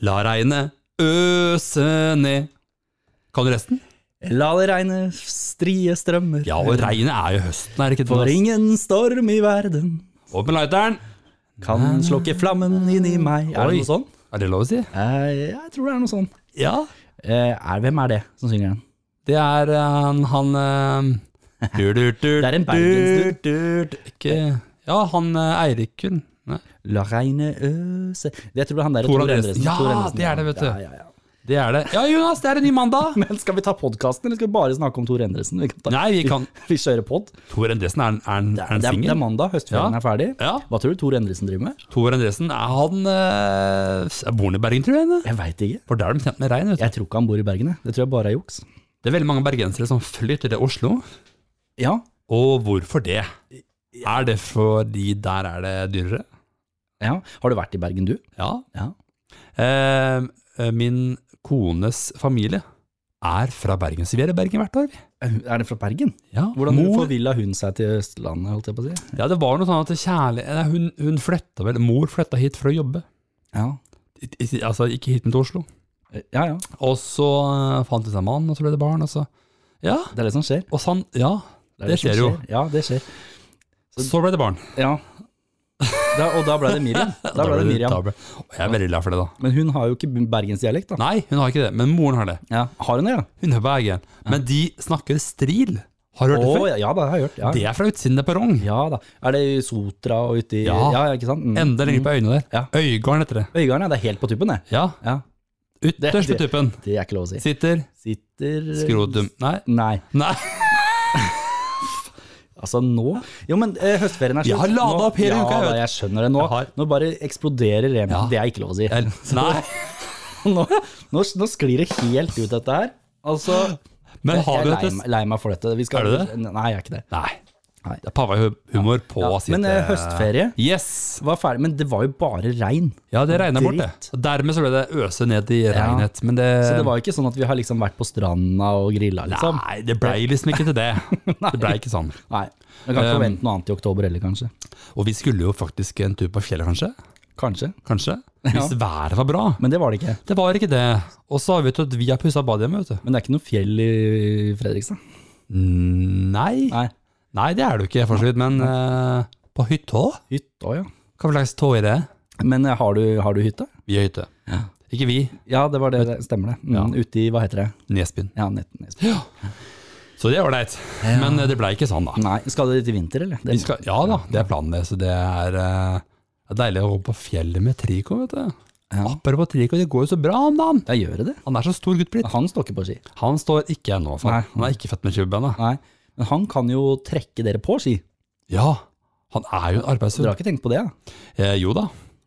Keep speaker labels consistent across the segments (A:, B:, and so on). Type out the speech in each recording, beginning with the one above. A: La regnet øse ned. Kan du resten?
B: La det regne strie strømmer,
A: Ja, og regnet er jo høsten, er det ikke
B: for
A: det?
B: ingen storm i verden
A: ass? Opp med lighteren!
B: kan slokke flammen inni meg. Er
A: Oi.
B: det noe sånn?
A: Er det lov å si?
B: Eh, jeg tror det er noe sånn.
A: Ja.
B: Eh, er, hvem er det som synger den?
A: Det er eh, han, han eh, dur, dur, dur,
B: Det er en bergensdur.
A: dur, dur, Ikke Ja, han eh, Eirikken. Nei.
B: La regne øse Jeg tror det er han der
A: Tor
B: Tor
A: Andresen.
B: Endresen.
A: Ja,
B: Tor Endresen.
A: det er det, vet du.
B: Ja, ja, ja.
A: Det er det. Ja, Jonas, det er en ny mandag!
B: Men skal vi ta podkasten, eller skal vi bare snakke om Tor Endresen? Vi, kan ta,
A: Nei, vi kan
B: vi kjører pod.
A: Tor Endresen er, en- er, en-
B: Det
A: er en
B: er, det er, det er
A: singel.
B: mandag, høstferien
A: Ja.
B: er ferdig.
A: Ja.
B: Hva tror du Tor Endresen driver med?
A: Tor Endresen er han eh, er Bor han i Bergen, tror jeg? eller?
B: Jeg veit ikke.
A: For der er de kjent med regn. vet du.
B: Jeg tror ikke han bor i Bergen. jeg. Det tror jeg bare er juks.
A: Det er veldig mange bergensere som flytter til Oslo.
B: Ja,
A: Og hvorfor det? Er det fordi der er det dyrere?
B: ja. Har du vært i Bergen, du?
A: Ja.
B: Ja.
A: Eh, min kones familie er fra Bergen, så vi er i Bergen hvert år.
B: Er det fra Bergen?
A: Ja,
B: Hvordan
A: mor,
B: forvilla hun seg til Østlandet, holdt jeg på å si?
A: ja, det var noe sånn at kjærlig, nei, hun, hun flytta vel, mor flytta hit for å jobbe.
B: Ja,
A: I- i- Altså ikke hit, men til Oslo.
B: ja. ja.
A: Og så eh, fant de seg mann, og så ble det barn, og så Ja,
B: Det er det som skjer.
A: og sånn, ja.
B: er
A: Det
B: som
A: skjer jo.
B: Ja, det skjer.
A: Så ble det barn.
B: Ja. Da, og da ble det Miriam. Da ble det Miriam.
A: da ble- og jeg er veldig glad for det, da.
B: Men hun har jo ikke bergensdialekt, da.
A: Nei, hun har ikke det, men moren har det.
B: Ja. Har hun det, ja?
A: Hun er Bergen. Men de snakker stril. Har du hørt det
B: Å,
A: før?
B: ja, ja da, jeg har hørt. Ja.
A: Det er fra utsiden av perrong.
B: ja da. Er det i Sotra og uti Ja,
A: Ja.
B: ja ikke sant? Mm.
A: Enda lenger på øynene der.
B: Ja.
A: Øygarden heter det.
B: Øygarden, ja. Det er helt på tuppen, det.
A: Ja,
B: Ja.
A: ytterst på
B: Det- det-
A: tuppen.
B: Det er ikke lov å si.
A: Sitter
B: Sitter
A: skrotum. Nei.
B: Nei.
A: Nei.
B: Altså nå Jo, men eh, høstferien er
A: Jeg har ladet
B: Nå-
A: opp hele
B: ja,
A: uka, jeg
B: da,
A: vet.
B: jeg skjønner det. Nå,
A: Jeg har-
B: nå bare eksploderer remen.
A: Ja.
B: Det er ikke lov å si.
A: El- Nei.
B: Nå, nå, nå sklir det helt ut, dette her. Altså
A: Men har
B: Jeg
A: du
B: er
A: et
B: lei, meg- lei meg for dette. Vi skal,
A: Er du det?
B: Nei, jeg er ikke det.
A: Nei.
B: Nei.
A: Det er pavahumor på
B: Ja,
A: sitt
B: men eh, høstferie
A: Yes!
B: var ferdig, men det var jo bare regn.
A: Ja, det regner bort, det.
B: Dritt.
A: Og Dermed så ble det øse ned i regnet. Men det,
B: Så det var jo ikke sånn at vi har liksom vært på stranda og grilla, liksom.
A: Eh. Nei, det blei liksom ikke til det. Det blei ikke sånn.
B: Nei. Man kan ikke forvente noe annet i oktober heller, kanskje.
A: Og vi skulle jo faktisk en tur på fjellet, kanskje?
B: Kanskje.
A: Kanskje? Hvis været var bra.
B: Men det var det ikke.
A: Det var ikke det. Og så har vi at vi har pussa badehjemmet, vet du.
B: Men det er ikke noe fjell i Fredrikstad.
A: Mm, Nei.
B: Nei.
A: Nei, det er det jo ikke, for så vidt. Men eh, på hytta?
B: Hytta, ja.
A: Hva slags tå er det?
B: Men eh, har du, har du hytte?
A: Vi har hytte. Ikke vi,
B: Ja, det var det, det stemmer det. Mm, Ute i, hva heter det?
A: Nesbyen.
B: Ja, Net- Nesbø.
A: Så det er ålreit. Men eh, det blei ikke sånn, da.
B: Nei, skal dere dit i vinter, eller?
A: Vi
B: Det,
A: skal, ja da, det er planen det. Så det er, eh, det er deilig å gå på fjellet med Trico, vet du.
B: Ja.
A: Apropos Trico, det går jo så bra om dagen.
B: ja, gjør det det?
A: Han er så stor gutt blitt.
B: Han står ikke på ski.
A: Han står ikke ennå, for
B: Nei.
A: han er ikke født med tjuvbeina.
B: Nei, men han kan jo trekke dere på ski.
A: Ja, han er jo en
B: Dere
A: arbeidshund.
B: har ikke tenkt på det? Ja.
A: Eh, jo da,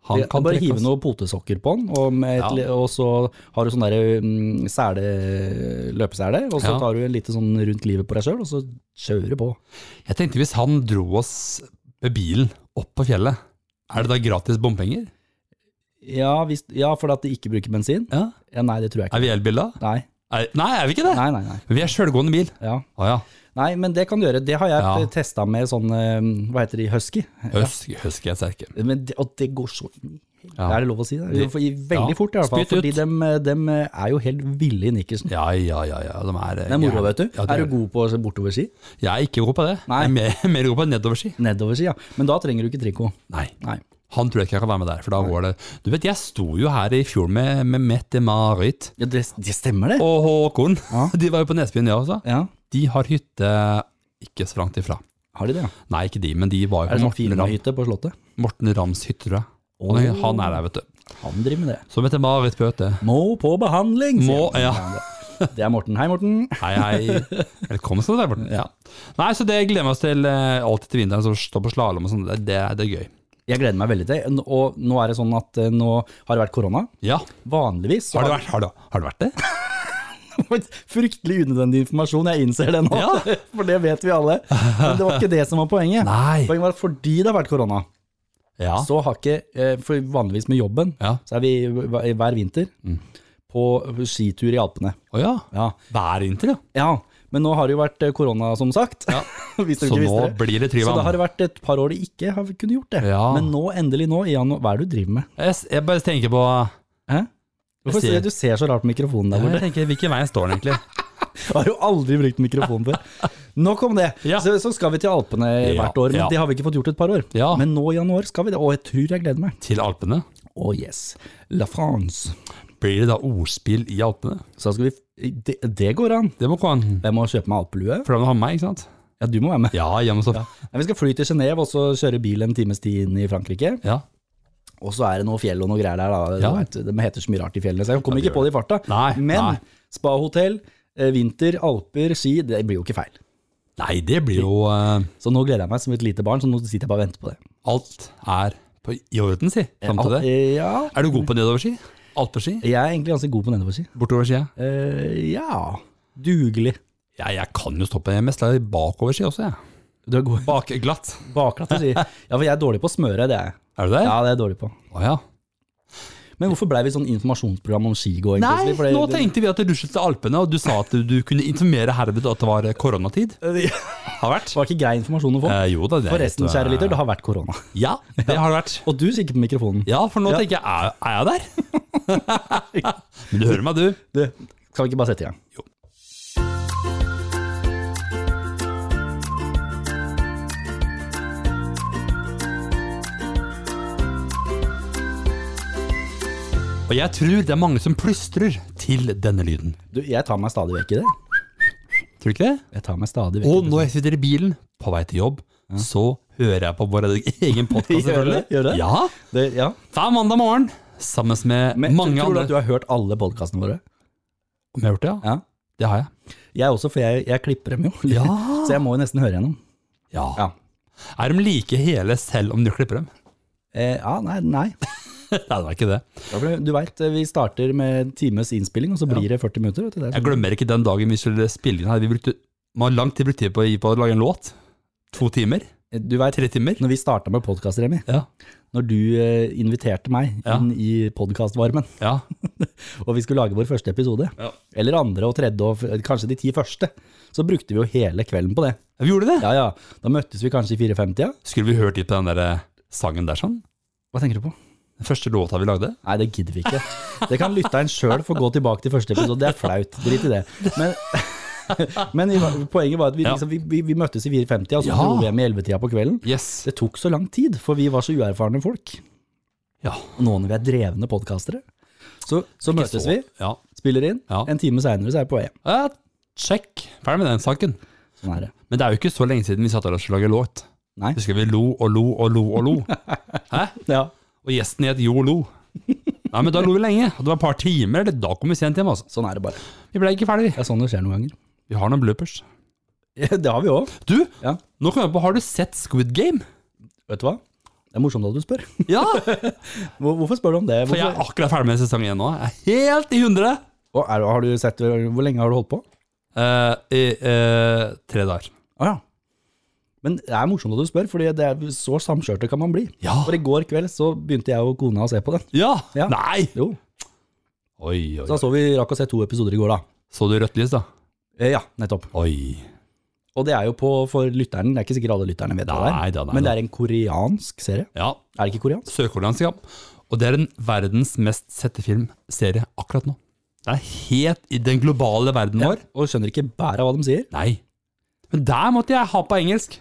A: han
B: Kan
A: kan
B: bare
A: trekke
B: hive
A: oss.
B: noen potesokker på han, og, med et,
A: Ja.
B: li- og så har du sånn der mm, sele, løpesele, og så
A: Ja.
B: tar du en lite sånn rundt livet på deg sjøl, og så kjører du på.
A: Jeg tenkte hvis han dro oss med bilen opp på fjellet, er det da gratis bompenger?
B: Ja, hvis, ja for at de ikke bruker bensin?
A: Ja.
B: Ja, nei, det tror jeg ikke.
A: Er vi elbil da?
B: Nei,
A: Er, nei, er vi ikke det?
B: nei, nei. nei.
A: Vi er sjølgående bil.
B: Ja.
A: Å ja.
B: nei, men det kan du gjøre. Det har jeg
A: Ja.
B: testet testa med sånn, eh, hva heter de, husky?
A: Husk, husk jeg sterke.
B: Men det, og det går så inn i helvete.
A: Ja.
B: Er det lov å si det? Vi får gi veldig
A: Ja.
B: fort, i hvert fall.
A: Spytt ut.
B: Fordi de, er jo helt ville i nikkersen.
A: Ja, ja, ja. ja. De er,
B: Det er moro, vet du.
A: Ja, det
B: er du god på bortoverski?
A: Jeg er ikke god på det.
B: Nei.
A: Jeg er mer, mer god på nedoverski.
B: Nedoverski, ja. Men da trenger du ikke trikot.
A: Nei.
B: Nei.
A: Han tror jeg ikke jeg kan være med der, for da går det Du vet, jeg sto jo her i fjor med, med Mette-Marit
B: Ja, det, det stemmer, det.
A: og Håkon.
B: Ja.
A: De var jo på Nesbyen, de også.
B: Ja,
A: De har hytte ikke så langt ifra.
B: Har de det, ja?
A: Nei, ikke de, men de var jo
B: Er det
A: på
B: sånn
A: Morten, Ram,
B: firmahytte på Slottet?
A: Morten Rams hytte, tror jeg. Han,
B: Å.
A: han er der, vet du.
B: Han driver med det.
A: Så Mette-Marit Bøte.
B: Må på behandling! sier
A: Må-
B: han.
A: ja.
B: Det er Morten. Hei, Morten.
A: Hei, hei. Velkommen skal du være, Morten. Ja. Nei, så det gleder vi oss til eh, alltid til vinteren, så stå på slalåm og sånn. Det, det, det er gøy.
B: Jeg gleder meg veldig til det. Og nå er det sånn at eh, nå har det vært korona.
A: Ja.
B: Vanligvis så
A: Har det vært, har det, har det, vært det?
B: Fryktelig unødvendig informasjon, jeg innser det nå.
A: Ja.
B: For det vet vi alle. Men det var ikke det som var poenget.
A: Nei.
B: Poenget var at fordi det har vært korona,
A: Ja.
B: så har ikke eh, For vanligvis med jobben,
A: Ja.
B: så er vi hver hver vinter
A: Mm.
B: på skitur i Alpene.
A: Å ja.
B: Ja.
A: Hver vinter, ja.
B: ja. Men nå har det jo vært eh, korona, som sagt.
A: Ja.
B: Hvis dere
A: Så
B: ikke
A: nå
B: visste det.
A: blir det
B: Så da har
A: Tryvann.
B: det vært et par år de ikke har kunnet gjort det.
A: Ja.
B: Men nå, endelig nå, i januar Hva er det du driver med?
A: Jeg, s- jeg bare tenker på
B: Hæ? Hvorfor ser du ser så rart på mikrofonen der
A: Ja,
B: borte?
A: jeg tenker, Hvilken vei står den egentlig?
B: Jeg har jo aldri brukt mikrofonen før. Nok om det.
A: Ja.
B: Så, så skal vi til Alpene
A: Ja,
B: hvert år, men
A: ja.
B: det har vi ikke fått gjort et par år.
A: Ja.
B: Men nå i januar skal vi det, og jeg tror jeg gleder meg.
A: Til Alpene?
B: Oh yes, La France.
A: Blir det da ordspill i Alpene?
B: Så da skal vi, det, det går an.
A: Det må komme an.
B: Jeg må kjøpe meg alpelue.
A: For da må du ha med meg, ikke sant?
B: Mm. Ja, du må være med.
A: Ja, ja, men så Ja.
B: Nei, Vi skal fly til Genéve og så kjøre bil en times tid inn i Frankrike. Og så er det noe fjell og noe greier der. da.
A: Ja.
B: Du vet, De heter så mye rart i fjellene, så jeg kommer
A: Ja, de
B: ikke på det i farta.
A: Nei, nei.
B: Men spahotell, eh, vinter, alper, ski, det blir jo ikke feil.
A: Nei, det blir jo eh,
B: Så nå gleder jeg meg som et lite barn, så nå sitter jeg bare og venter på det.
A: Alt er på, i orden, si. Fram til det.
B: Ja,
A: Er du god på nedoverski? Alpeski?
B: jeg er egentlig ganske god på nedoverski.
A: Bortoverski? ja.
B: Eh, ja, dugelig.
A: Ja, jeg kan jo stoppe. Jeg mestrer bakoverski også, jeg.
B: Du er god
A: Bakglatt.
B: bakglatt å si. Ja, for jeg er dårlig på å smøre, det er jeg.
A: Er du det?
B: Ja, det er jeg dårlig på.
A: Å, ja.
B: Men hvorfor blei vi sånn informasjonsprogram om skigåing?
A: Nei,
B: plutselig? For det-
A: nå tenkte vi at det ruslet til Alpene, og du sa at du kunne informere Herved at det var koronatid.
B: det
A: Har vært.
B: var ikke grei informasjon å få.
A: Eh, jo da, det er
B: Forresten,
A: litt, eh,
B: kjære lytter, det har vært korona.
A: Ja, det har det vært.
B: Og du sikkert på mikrofonen.
A: Ja, for nå tenker jeg, er, er jeg der? Men du hører meg, du.
B: Du, skal vi ikke bare sette i gang?
A: Jo. Og jeg tror det er mange som plystrer til denne lyden.
B: Du, jeg tar meg stadig vekk i det.
A: Tror du ikke det?
B: Jeg tar meg stadig vekk i
A: Og når jeg sitter i bilen på vei til jobb, så hører jeg på vår egen podkast,
B: Gjør
A: selvfølgelig.
B: det, gjør det.
A: Ja,
B: det. det ja.
A: Hver mandag morgen sammen med
B: Men
A: mange
B: tror du
A: andre.
B: at du har hørt alle podkastene våre?
A: Om jeg har gjort det, ja.
B: Ja.
A: Det har jeg.
B: Jeg også, for jeg, jeg klipper dem jo.
A: Ja.
B: Så jeg må jo nesten høre gjennom.
A: Ja.
B: Ja.
A: Er de like hele selv om du klipper dem?
B: Eh, ja, nei, nei.
A: Nei, det var ikke det.
B: Du veit, vi starter med en times innspilling, og så blir det 40 minutter. Vet du. Det er
A: Jeg
B: sånn.
A: glemmer ikke den dagen vi skulle spille inn her. Vi brukte man har lang tid brukt tid på, å- på å lage en låt. To timer?
B: Eh, Du vet,
A: Tre timer?
B: når vi starta med podkast, Remi,
A: Ja.
B: når du eh, inviterte meg
A: Ja.
B: inn i podkastvarmen,
A: ja.
B: og vi skulle lage vår første episode,
A: Ja.
B: eller andre og tredje, og f- kanskje de ti første, så brukte vi jo hele kvelden på det.
A: Vi gjorde det.
B: Ja, ja. Da møttes vi kanskje i 54-tida.
A: Skulle vi hørt litt på den der eh, sangen der sånn?
B: Hva tenker du på?
A: Den første låta vi lagde?
B: Nei, det gidder vi ikke. Det kan lytteren sjøl få gå tilbake til første episode. Det er flaut. Drit i det. Men, men i- poenget var at vi,
A: Ja.
B: liksom, vi, vi, vi møttes i 4.50, og så
A: Ja.
B: dro vi hjem i 11-tida på kvelden.
A: Yes.
B: Det tok så lang tid, for vi var så uerfarne folk.
A: Ja.
B: Og nå når vi er drevne podkastere, så, så møtes vi,
A: Ja.
B: spiller inn.
A: Ja.
B: En time seinere så er jeg på E. EM.
A: Ja, Sjekk. Ferdig med den saken.
B: Sånn er det.
A: Men det er jo ikke så lenge siden vi satt der og skulle lage låt.
B: Nei.
A: Husker vi lo og lo og lo og lo. Hæ?
B: Ja.
A: Og gjesten het Jo Lo. Nei, men da lo vi lenge. Og det var et par timer, eller da kom vi sent hjem, altså.
B: Sånn er det bare.
A: Vi ble ikke ferdig, vi.
B: Det er sånn det skjer noen ganger.
A: Vi har noen bloopers.
B: Det har vi òg.
A: Du,
B: Ja.
A: nå kom jeg på, har du sett Squid Game?
B: Vet du hva? Det er morsomt at du spør.
A: Ja,
B: Hvor- Hvorfor spør du om det?
A: for jeg
B: Hvorfor?
A: er akkurat ferdig med sesong én nå. Jeg er helt i hundre.
B: Og er, har du sett, hvor lenge har du holdt på?
A: Eh, I eh, tre dager.
B: Ah, ja. Men det er morsomt at du spør, fordi det er så samkjørte kan man bli.
A: Ja.
B: For i går kveld så begynte jeg og kona å se på den.
A: Ja.
B: Ja.
A: Nei!
B: Jo,
A: Oi, oi.
B: Så da så vi rakk å se to episoder i går, da.
A: Så du rødt lys, da?
B: Eh, ja, nettopp.
A: Oi.
B: Og det er jo på for lytteren, det er ikke sikkert alle lytterne vet hva det
A: Nei,
B: er.
A: da, nei,
B: Men
A: da.
B: det er en koreansk serie.
A: Ja.
B: Er det ikke koreansk?
A: Sørkoreansk, ja. Og det er den verdens mest sette filmserie akkurat nå. Det er helt i den globale verden vår.
B: Og skjønner ikke bæret av hva de sier.
A: Nei. Men der måtte jeg ha på engelsk.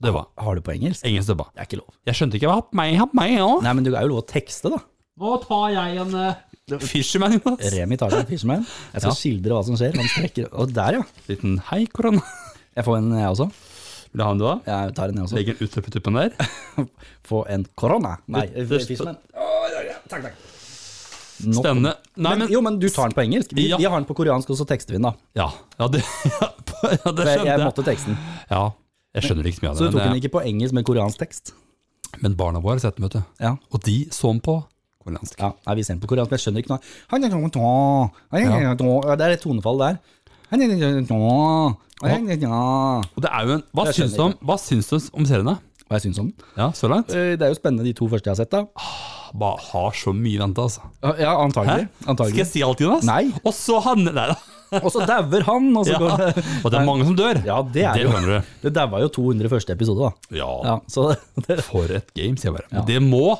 A: Det var
B: Har du på engelsk?
A: engelsk dubba.
B: Det er ikke lov.
A: Jeg skjønte ikke hva happ meg, happ meg, ja.
B: Nei, men det er jo lov å tekste, da.
A: Nå tar jeg en uh, Fisherman, Jonas.
B: Remi tar seg en Fisherman. Jeg skal skildre hva som skjer. Han strekker Og der, ja.
A: Liten hei, korona.
B: Jeg får en, jeg også.
A: Vil du ha en, du da?
B: Jeg tar en, jeg også.
A: Legg en utløp i tuppen der.
B: Få en korona. Nei,
A: Det- det-
B: Fisherman. Takk, takk.
A: Spennende. Nei,
B: Men,
A: men
B: jo, men du tar den på engelsk. Vi,
A: Ja.
B: vi har den på koreansk, og så tekster vi den, da.
A: Ja, ja det, ja, det
B: For jeg,
A: skjønte
B: jeg
A: jeg.
B: måtte teksten.
A: Ja, jeg skjønner ikke så mye av
B: Så
A: det.
B: du tok
A: men
B: den
A: jeg-
B: ikke på engelsk, men koreansk tekst.
A: Men barna våre sett den, vet du.
B: Ja.
A: Og de så den på koreansk.
B: ja. Nei, vi ser den på koreansk, men jeg skjønner ikke noe. Ja. Det sånn, er et tonefall der. sånn, Hva
A: Og det er jo en, hva
B: Jeg
A: syns, du om, hva syns du om seriene?
B: jeg syns om den?
A: Ja, så langt?
B: Eh, Det er jo spennende, de to første jeg har sett. da.
A: Bare har så mye venta, altså.
B: Ja,
A: Skal
B: antagelig.
A: jeg
B: antagelig.
A: si alt, Jonas?
B: Nei.
A: Og så han Nei da.
B: Og så dauer han, og så
A: Ja.
B: går det
A: Og det er mange som dør.
B: Ja, det er jo
A: skjønner du.
B: Det daua jo 200 første episode, da.
A: Ja.
B: Ja, så det,
A: For et game, sier jeg bare. Men det må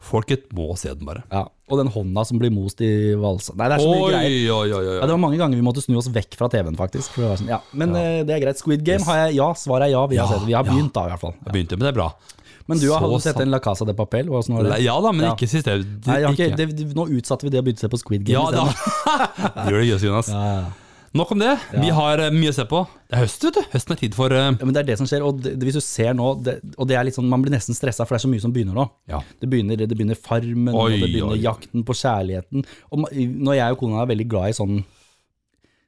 A: Folket må se den, bare.
B: Ja. Og den hånda som blir most i valsa. Nei, det er så mye
A: Oi,
B: greier.
A: oi, oi, oi.
B: Ja, det var mange ganger vi måtte snu oss vekk fra TV-en, faktisk. For det var sånn, ja. Men eh, det er greit. Squid Game har jeg ja. Svaret er ja. Vi har,
A: Ja,
B: sett. det. Vi har
A: ja.
B: begynt, da, i hvert fall.
A: Jeg begynte, men det er bra.
B: Men du har
A: Så
B: hadde sett
A: sant.
B: en La Casa de Papel? Hvordan var det?
A: Ja da, men
B: Ja.
A: ikke sist. jeg-
B: Nei, jeg har
A: ikke-
B: ikke, det, det- nå utsatte vi det og begynte å se på Squid Game.
A: Ja
B: isteden.
A: da. det gjør det gøy, Jonas.
B: Ja, ja.
A: Nok om det. Vi har eh, mye å se på. Det er høst, vet du. Høsten er tid for eh,
B: Ja, men det er det som skjer. Og det, det- hvis du ser nå, det, og det er litt sånn, man blir nesten stressa, for det er så mye som begynner nå.
A: Ja.
B: Det begynner, det begynner Farmen, og
A: Oi,
B: det begynner
A: oi.
B: Jakten på kjærligheten. Og ma- når jeg og kona er veldig glad i sånn,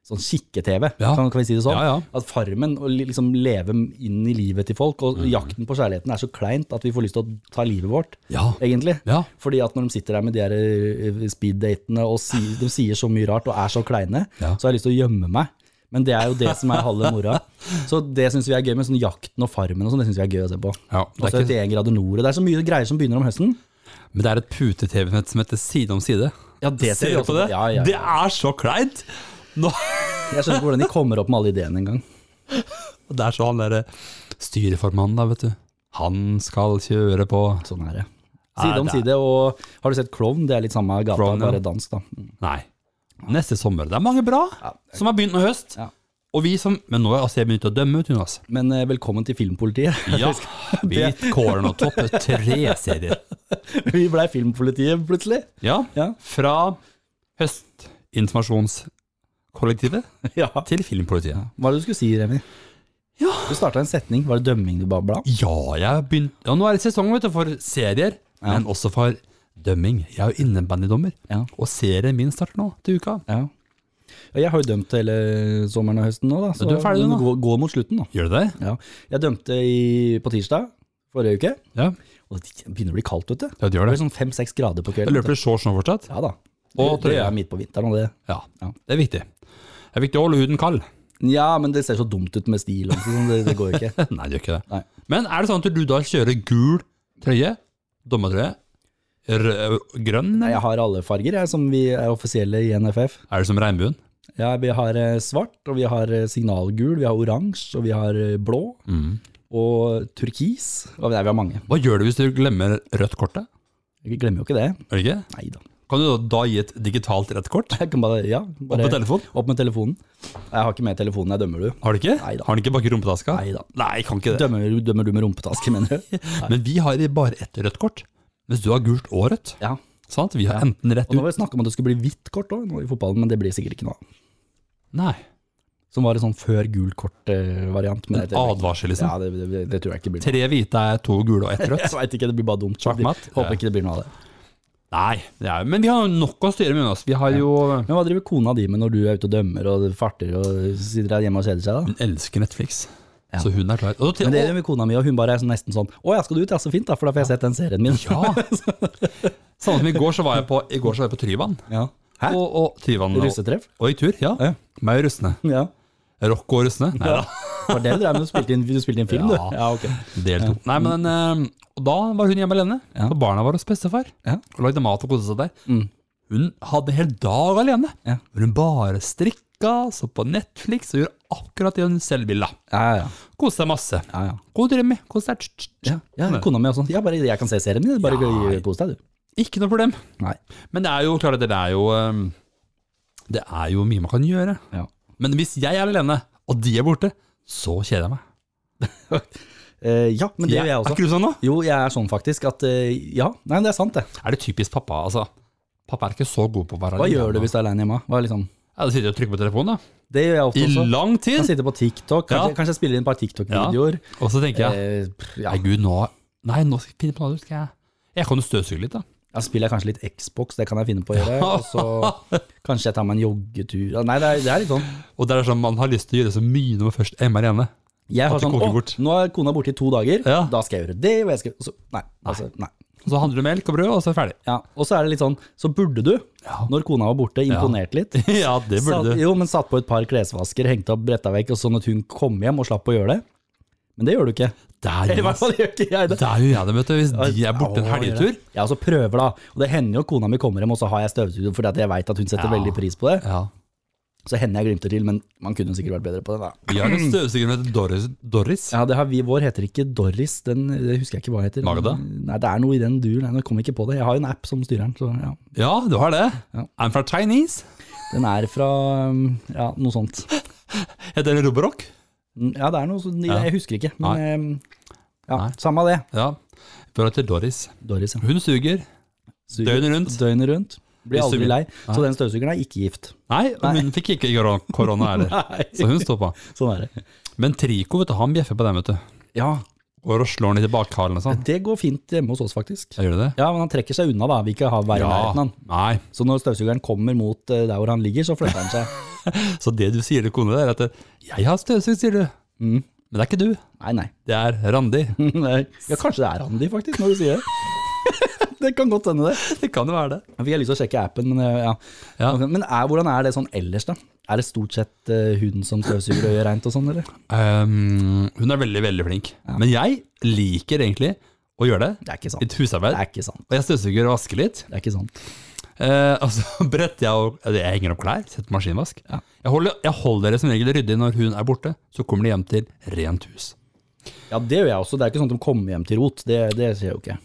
B: sånn kikke-TV,
A: Ja.
B: kan, kan vi si det sånn,
A: Ja, ja.
B: at Farmen og li- liksom leve inn i livet til folk, og
A: Mm.
B: Jakten på kjærligheten er så kleint at vi får lyst til å ta livet vårt,
A: Ja.
B: egentlig.
A: Ja.
B: Fordi at når de sitter der med de her eh, speeddatene og si, de sier så mye rart og er så kleine,
A: Ja.
B: så har jeg lyst til å gjemme meg. Men det er jo det som er halve mora. Så det syns vi er gøy med sånn jakten og farmen og sånn. Det syns vi er gøy å se på.
A: Ja, det er
B: Og så
A: ikke-
B: 71 grader E nord. og Det er så mye greier som begynner om høsten.
A: Men det er et pute-TV som heter Side om side.
B: Ja, det
A: Ser
B: ser vi
A: du
B: også
A: på det?
B: Ja, ja, ja.
A: Det er så kleint! Nå,
B: Jeg skjønner ikke hvordan de kommer opp med alle ideene engang.
A: og det er så han derre styreformannen, da, vet du. Han skal kjøre på
B: Sånn er det. Side
A: Nei,
B: om
A: det er-
B: side. Og har du sett Klovn? Det er litt samme gata,
A: Klovn, ja.
B: bare dansk, da.
A: Nei. Neste sommer. Det er mange bra som har begynt med høst.
B: Ja.
A: Og vi som Men nå har altså, jeg begynt å dømme, ut, Jonas.
B: Men eh, velkommen til Filmpolitiet.
A: Ja. Beat Corn og topp tre-serier.
B: Vi blei Filmpolitiet plutselig.
A: Ja.
B: Ja.
A: Fra høstinformasjonskollektivet
B: ja.
A: til filmpolitiet.
B: Hva er det du skulle si, Remi?
A: Ja.
B: Du starta en setning. Var det dømming du babla om?
A: Ja, jeg har begynt Ja, nå er det sesong vet du, for serier, men også for dømming. Jeg er jo innebandydommer,
B: Ja.
A: og serien min starter nå til uka.
B: Ja. Ja, Jeg har jo dømt hele sommeren og høsten nå, da, så
A: du er ferdig
B: den
A: nå.
B: går, går mot slutten. da.
A: Gjør du det?
B: Ja. Jeg dømte i, på tirsdag forrige uke,
A: Ja.
B: og det begynner å bli kaldt, vet du.
A: Ja, det gjør det.
B: Det blir sånn fem-seks grader på
A: Jeg
B: kvelden.
A: lurer på det shorts nå fortsatt.
B: Ja da.
A: Og
B: det
A: trøye.
B: er midt på vinteren. og det.
A: Ja.
B: Ja.
A: Det er viktig. Det er viktig å holde huden kald.
B: Ja, men det ser så dumt ut med stil. Liksom. sånn, Det, det går jo ikke.
A: Nei, det gjør ikke det.
B: Nei.
A: Men er det sånn at du da kjører gul trøye, dommertrøye, rød- grønn?
B: Nei,
A: eller?
B: Jeg har alle farger, jeg, som vi er offisielle i NFF.
A: Er det som regnbuen?
B: Ja, vi har eh, svart, og vi har eh, signalgul, vi har oransje, og vi har eh, blå. Og turkis. Og nei, vi har mange.
A: Hva gjør du hvis du glemmer rødt kortet?
B: Jeg glemmer jo ikke det.
A: Er det ikke?
B: Nei da.
A: Kan du da, da gi et digitalt rødt kort?
B: Jeg kan bare, ja, bare
A: Opp med telefonen?
B: Opp med telefonen. Jeg har ikke med telefonen, jeg dømmer du.
A: Har du ikke?
B: Neida.
A: Har den ikke bak i rumpetaska?
B: Neida.
A: Nei, kan ikke det.
B: Dømmer, dømmer du med rumpetaske, mener du?
A: Men vi har bare ett rødt kort. Hvis du har gult og rødt,
B: Ja.
A: sant? Vi har enten rett
B: Og nå
A: ut
B: var det snakk om at det skulle bli hvitt kort også, nå i fotballen, men det blir sikkert ikke noe av.
A: Nei.
B: Som var en sånn før gul kort-variant. men det-
A: Advarsel, liksom.
B: Ja, det, det, det, det tror jeg ikke blir noe av.
A: Tre hvite er to gule og ett rødt.
B: Jeg vet ikke, det blir bare dumt.
A: Sjakk matt?
B: Håper ikke det blir noe av det.
A: Nei, det er, men vi har jo nok å styre med oss. Vi har jo Hun
B: Men hva driver kona di med når du er ute og dømmer og farter og sitter der hjemme og kjeder seg, da?
A: elsker Netflix, så hun er klar. Og til,
B: Men det gjør jo kona mi, og hun bare er sånn, nesten sånn Å ja, skal du ut? Ja, så fint, da, for da får jeg sett den serien min.
A: Ja. Samme som i går, så var jeg på, i går så var jeg på Tryvann.
B: Ja. Hæ?
A: Og, og Tryvann og,
B: Russetreff?
A: og i tur, ja.
B: Ja.
A: Meg og russene.
B: Ja.
A: Rock og russene. Nei da.
B: Det var det du drev med, du spilte inn, du spilte inn film,
A: Ja.
B: du. Ja, ok.
A: Del to. Nei, men eh, og da var hun hjemme alene,
B: Ja.
A: og barna var hos bestefar.
B: Ja. Mm.
A: Og lagde mat og koste seg der. Hun hadde en hel dag alene.
B: Ja.
A: Hvor hun bare strikka, så på Netflix og gjorde akkurat det hun selv ville.
B: Ja, ja.
A: Koste seg masse.
B: ja, ja.
A: God drømme. Kos deg. Tsk, tsk, tsk.
B: Ja, ja kona mi også. sånn, Ja, bare jeg kan se serien min. Bare ja. kos deg, du.
A: Ikke noe problem.
B: Nei.
A: Men det er jo klart at det er jo eh, Det er jo mye man kan gjøre.
B: Ja.
A: Men hvis jeg er alene, og de er borte, så kjeder jeg meg.
B: Eh, ja, men det
A: Jeg-
B: gjør jeg
A: Er ikke
B: også.
A: du sånn nå?
B: Jo, jeg er sånn faktisk at eh, Ja, nei, men det er sant, det.
A: Er det typisk pappa, altså? Pappa er ikke så god på å være
B: Hva gjør du hvis du er aleine hjemme? Hva er liksom?
A: Ja, da sitter jeg og trykker på telefonen, da.
B: Det gjør jeg ofte
A: I
B: også.
A: lang
B: Kan
A: tid!
B: sitte på TikTok. Kanskje,
A: Ja.
B: kanskje jeg spiller inn et par TikTok-videoer.
A: Og så tenker jeg
B: Eh, pff, ja.
A: Nei, gud, nå Nei, nå skal jeg finne på noe. Skal jeg Jeg kan jo støvsuge litt, da.
B: Jeg spiller jeg kanskje litt Xbox, det kan jeg finne på å gjøre. Og så kanskje jeg tar meg en joggetur. Ja, Nei, det er, det er litt sånn.
A: Og det er sånn man har lyst til å gjøre så mye når man først er hjemme alene.
B: Jeg har
A: At det
B: sånn,
A: koker
B: å,
A: bort.
B: nå er kona borte i to dager,
A: Ja.
B: da skal jeg gjøre det. Og jeg skal, og så, nei, altså, nei.
A: Og så handler det melk og brød, og så er det ferdig.
B: Ja, og så er det litt sånn, så burde du,
A: Ja.
B: når kona var borte, imponert litt.
A: ja, det burde
B: Satt,
A: du.
B: jo, men satt på et par klesvasker, hengte opp, bretta vekk, og sånn at hun kom hjem og slapp å gjøre det. Men det gjør du ikke.
A: Der,
B: Eller i hvert
A: Jonas.
B: fall gjør ikke jeg det.
A: Der gjør jeg det, vet du. Hvis de er borte en
B: Ja,
A: helgetur.
B: Ja, og så prøver da. Og det hender jo kona mi kommer hjem, og så har jeg støvsuger fordi at jeg veit at hun
A: Ja.
B: setter veldig pris på det.
A: Ja.
B: Så hender jeg glimter til, men man kunne sikkert vært bedre på det. da.
A: Vi har en støvsuger som heter Doris. Doris.
B: Ja, det har vi, Vår heter ikke Doris, den, det husker jeg ikke hva heter.
A: Magda?
B: Nei, Det er noe i den duren. Jeg kom ikke på det. Jeg har jo en app som styrer den. så ja.
A: Ja, du har det.
B: Ja.
A: I'm fra Chinese.
B: Den er fra um, ja, noe sånt.
A: Heter det Roborock?
B: Ja, det er noe sånt. Jeg, jeg husker ikke, men um, ja,
A: Nei.
B: samme det.
A: Ja. Før heter Doris.
B: Doris, ja.
A: Hun suger.
B: Suger
A: Døgnet rundt.
B: Døgnet rundt. Blir
A: Vi
B: aldri
A: suger.
B: lei. Så den støvsugeren er ikke gift.
A: Nei, og hun fikk ikke kor- korona heller.
B: Nei.
A: Så hun står på.
B: Sånn er det.
A: Men Trico, vet du, han bjeffer på dem, vet du.
B: Ja,
A: Går og slår den litt i bakhalen og sånn.
B: det går fint hjemme hos oss, faktisk.
A: Ja, Gjør du det?
B: Ja, men han trekker seg unna, da. Vi ikke har være i nærheten han.
A: Nei.
B: Så når støvsugeren kommer mot eh, der hvor han ligger, så flytter han seg.
A: Så det du sier til kona der, er at 'jeg har støvsugd', sier du. Mm. Men det er ikke du.
B: Nei, nei.
A: Det er Randi.
B: Nei. Ja, kanskje det er Randi, faktisk, når du sier det. det kan godt hende, det.
A: Det kan jo være det.
B: Jeg fikk lyst til å sjekke appen, men eh, ja.
A: Ja.
B: Men er, hvordan er det sånn ellers, da? Er det stort sett eh, hun som støvsuger og gjør reint og sånn, eller?
A: Ehm, hun er veldig, veldig flink. Men jeg liker egentlig å gjøre det.
B: Det er ikke sant.
A: Litt
B: Det
A: husarbeid.
B: er ikke sant.
A: Og jeg støvsuger og vasker litt.
B: Det er ikke sant.
A: Eh, og så bretter jeg og eller Jeg henger opp klær, setter på maskinvask.
B: Ja.
A: Jeg, holder, jeg holder det som regel ryddig når hun er borte. Så kommer de hjem til rent hus.
B: Ja, det gjør jeg også. Det er ikke sånn at de kommer hjem til rot. Det, det skjer jo ikke.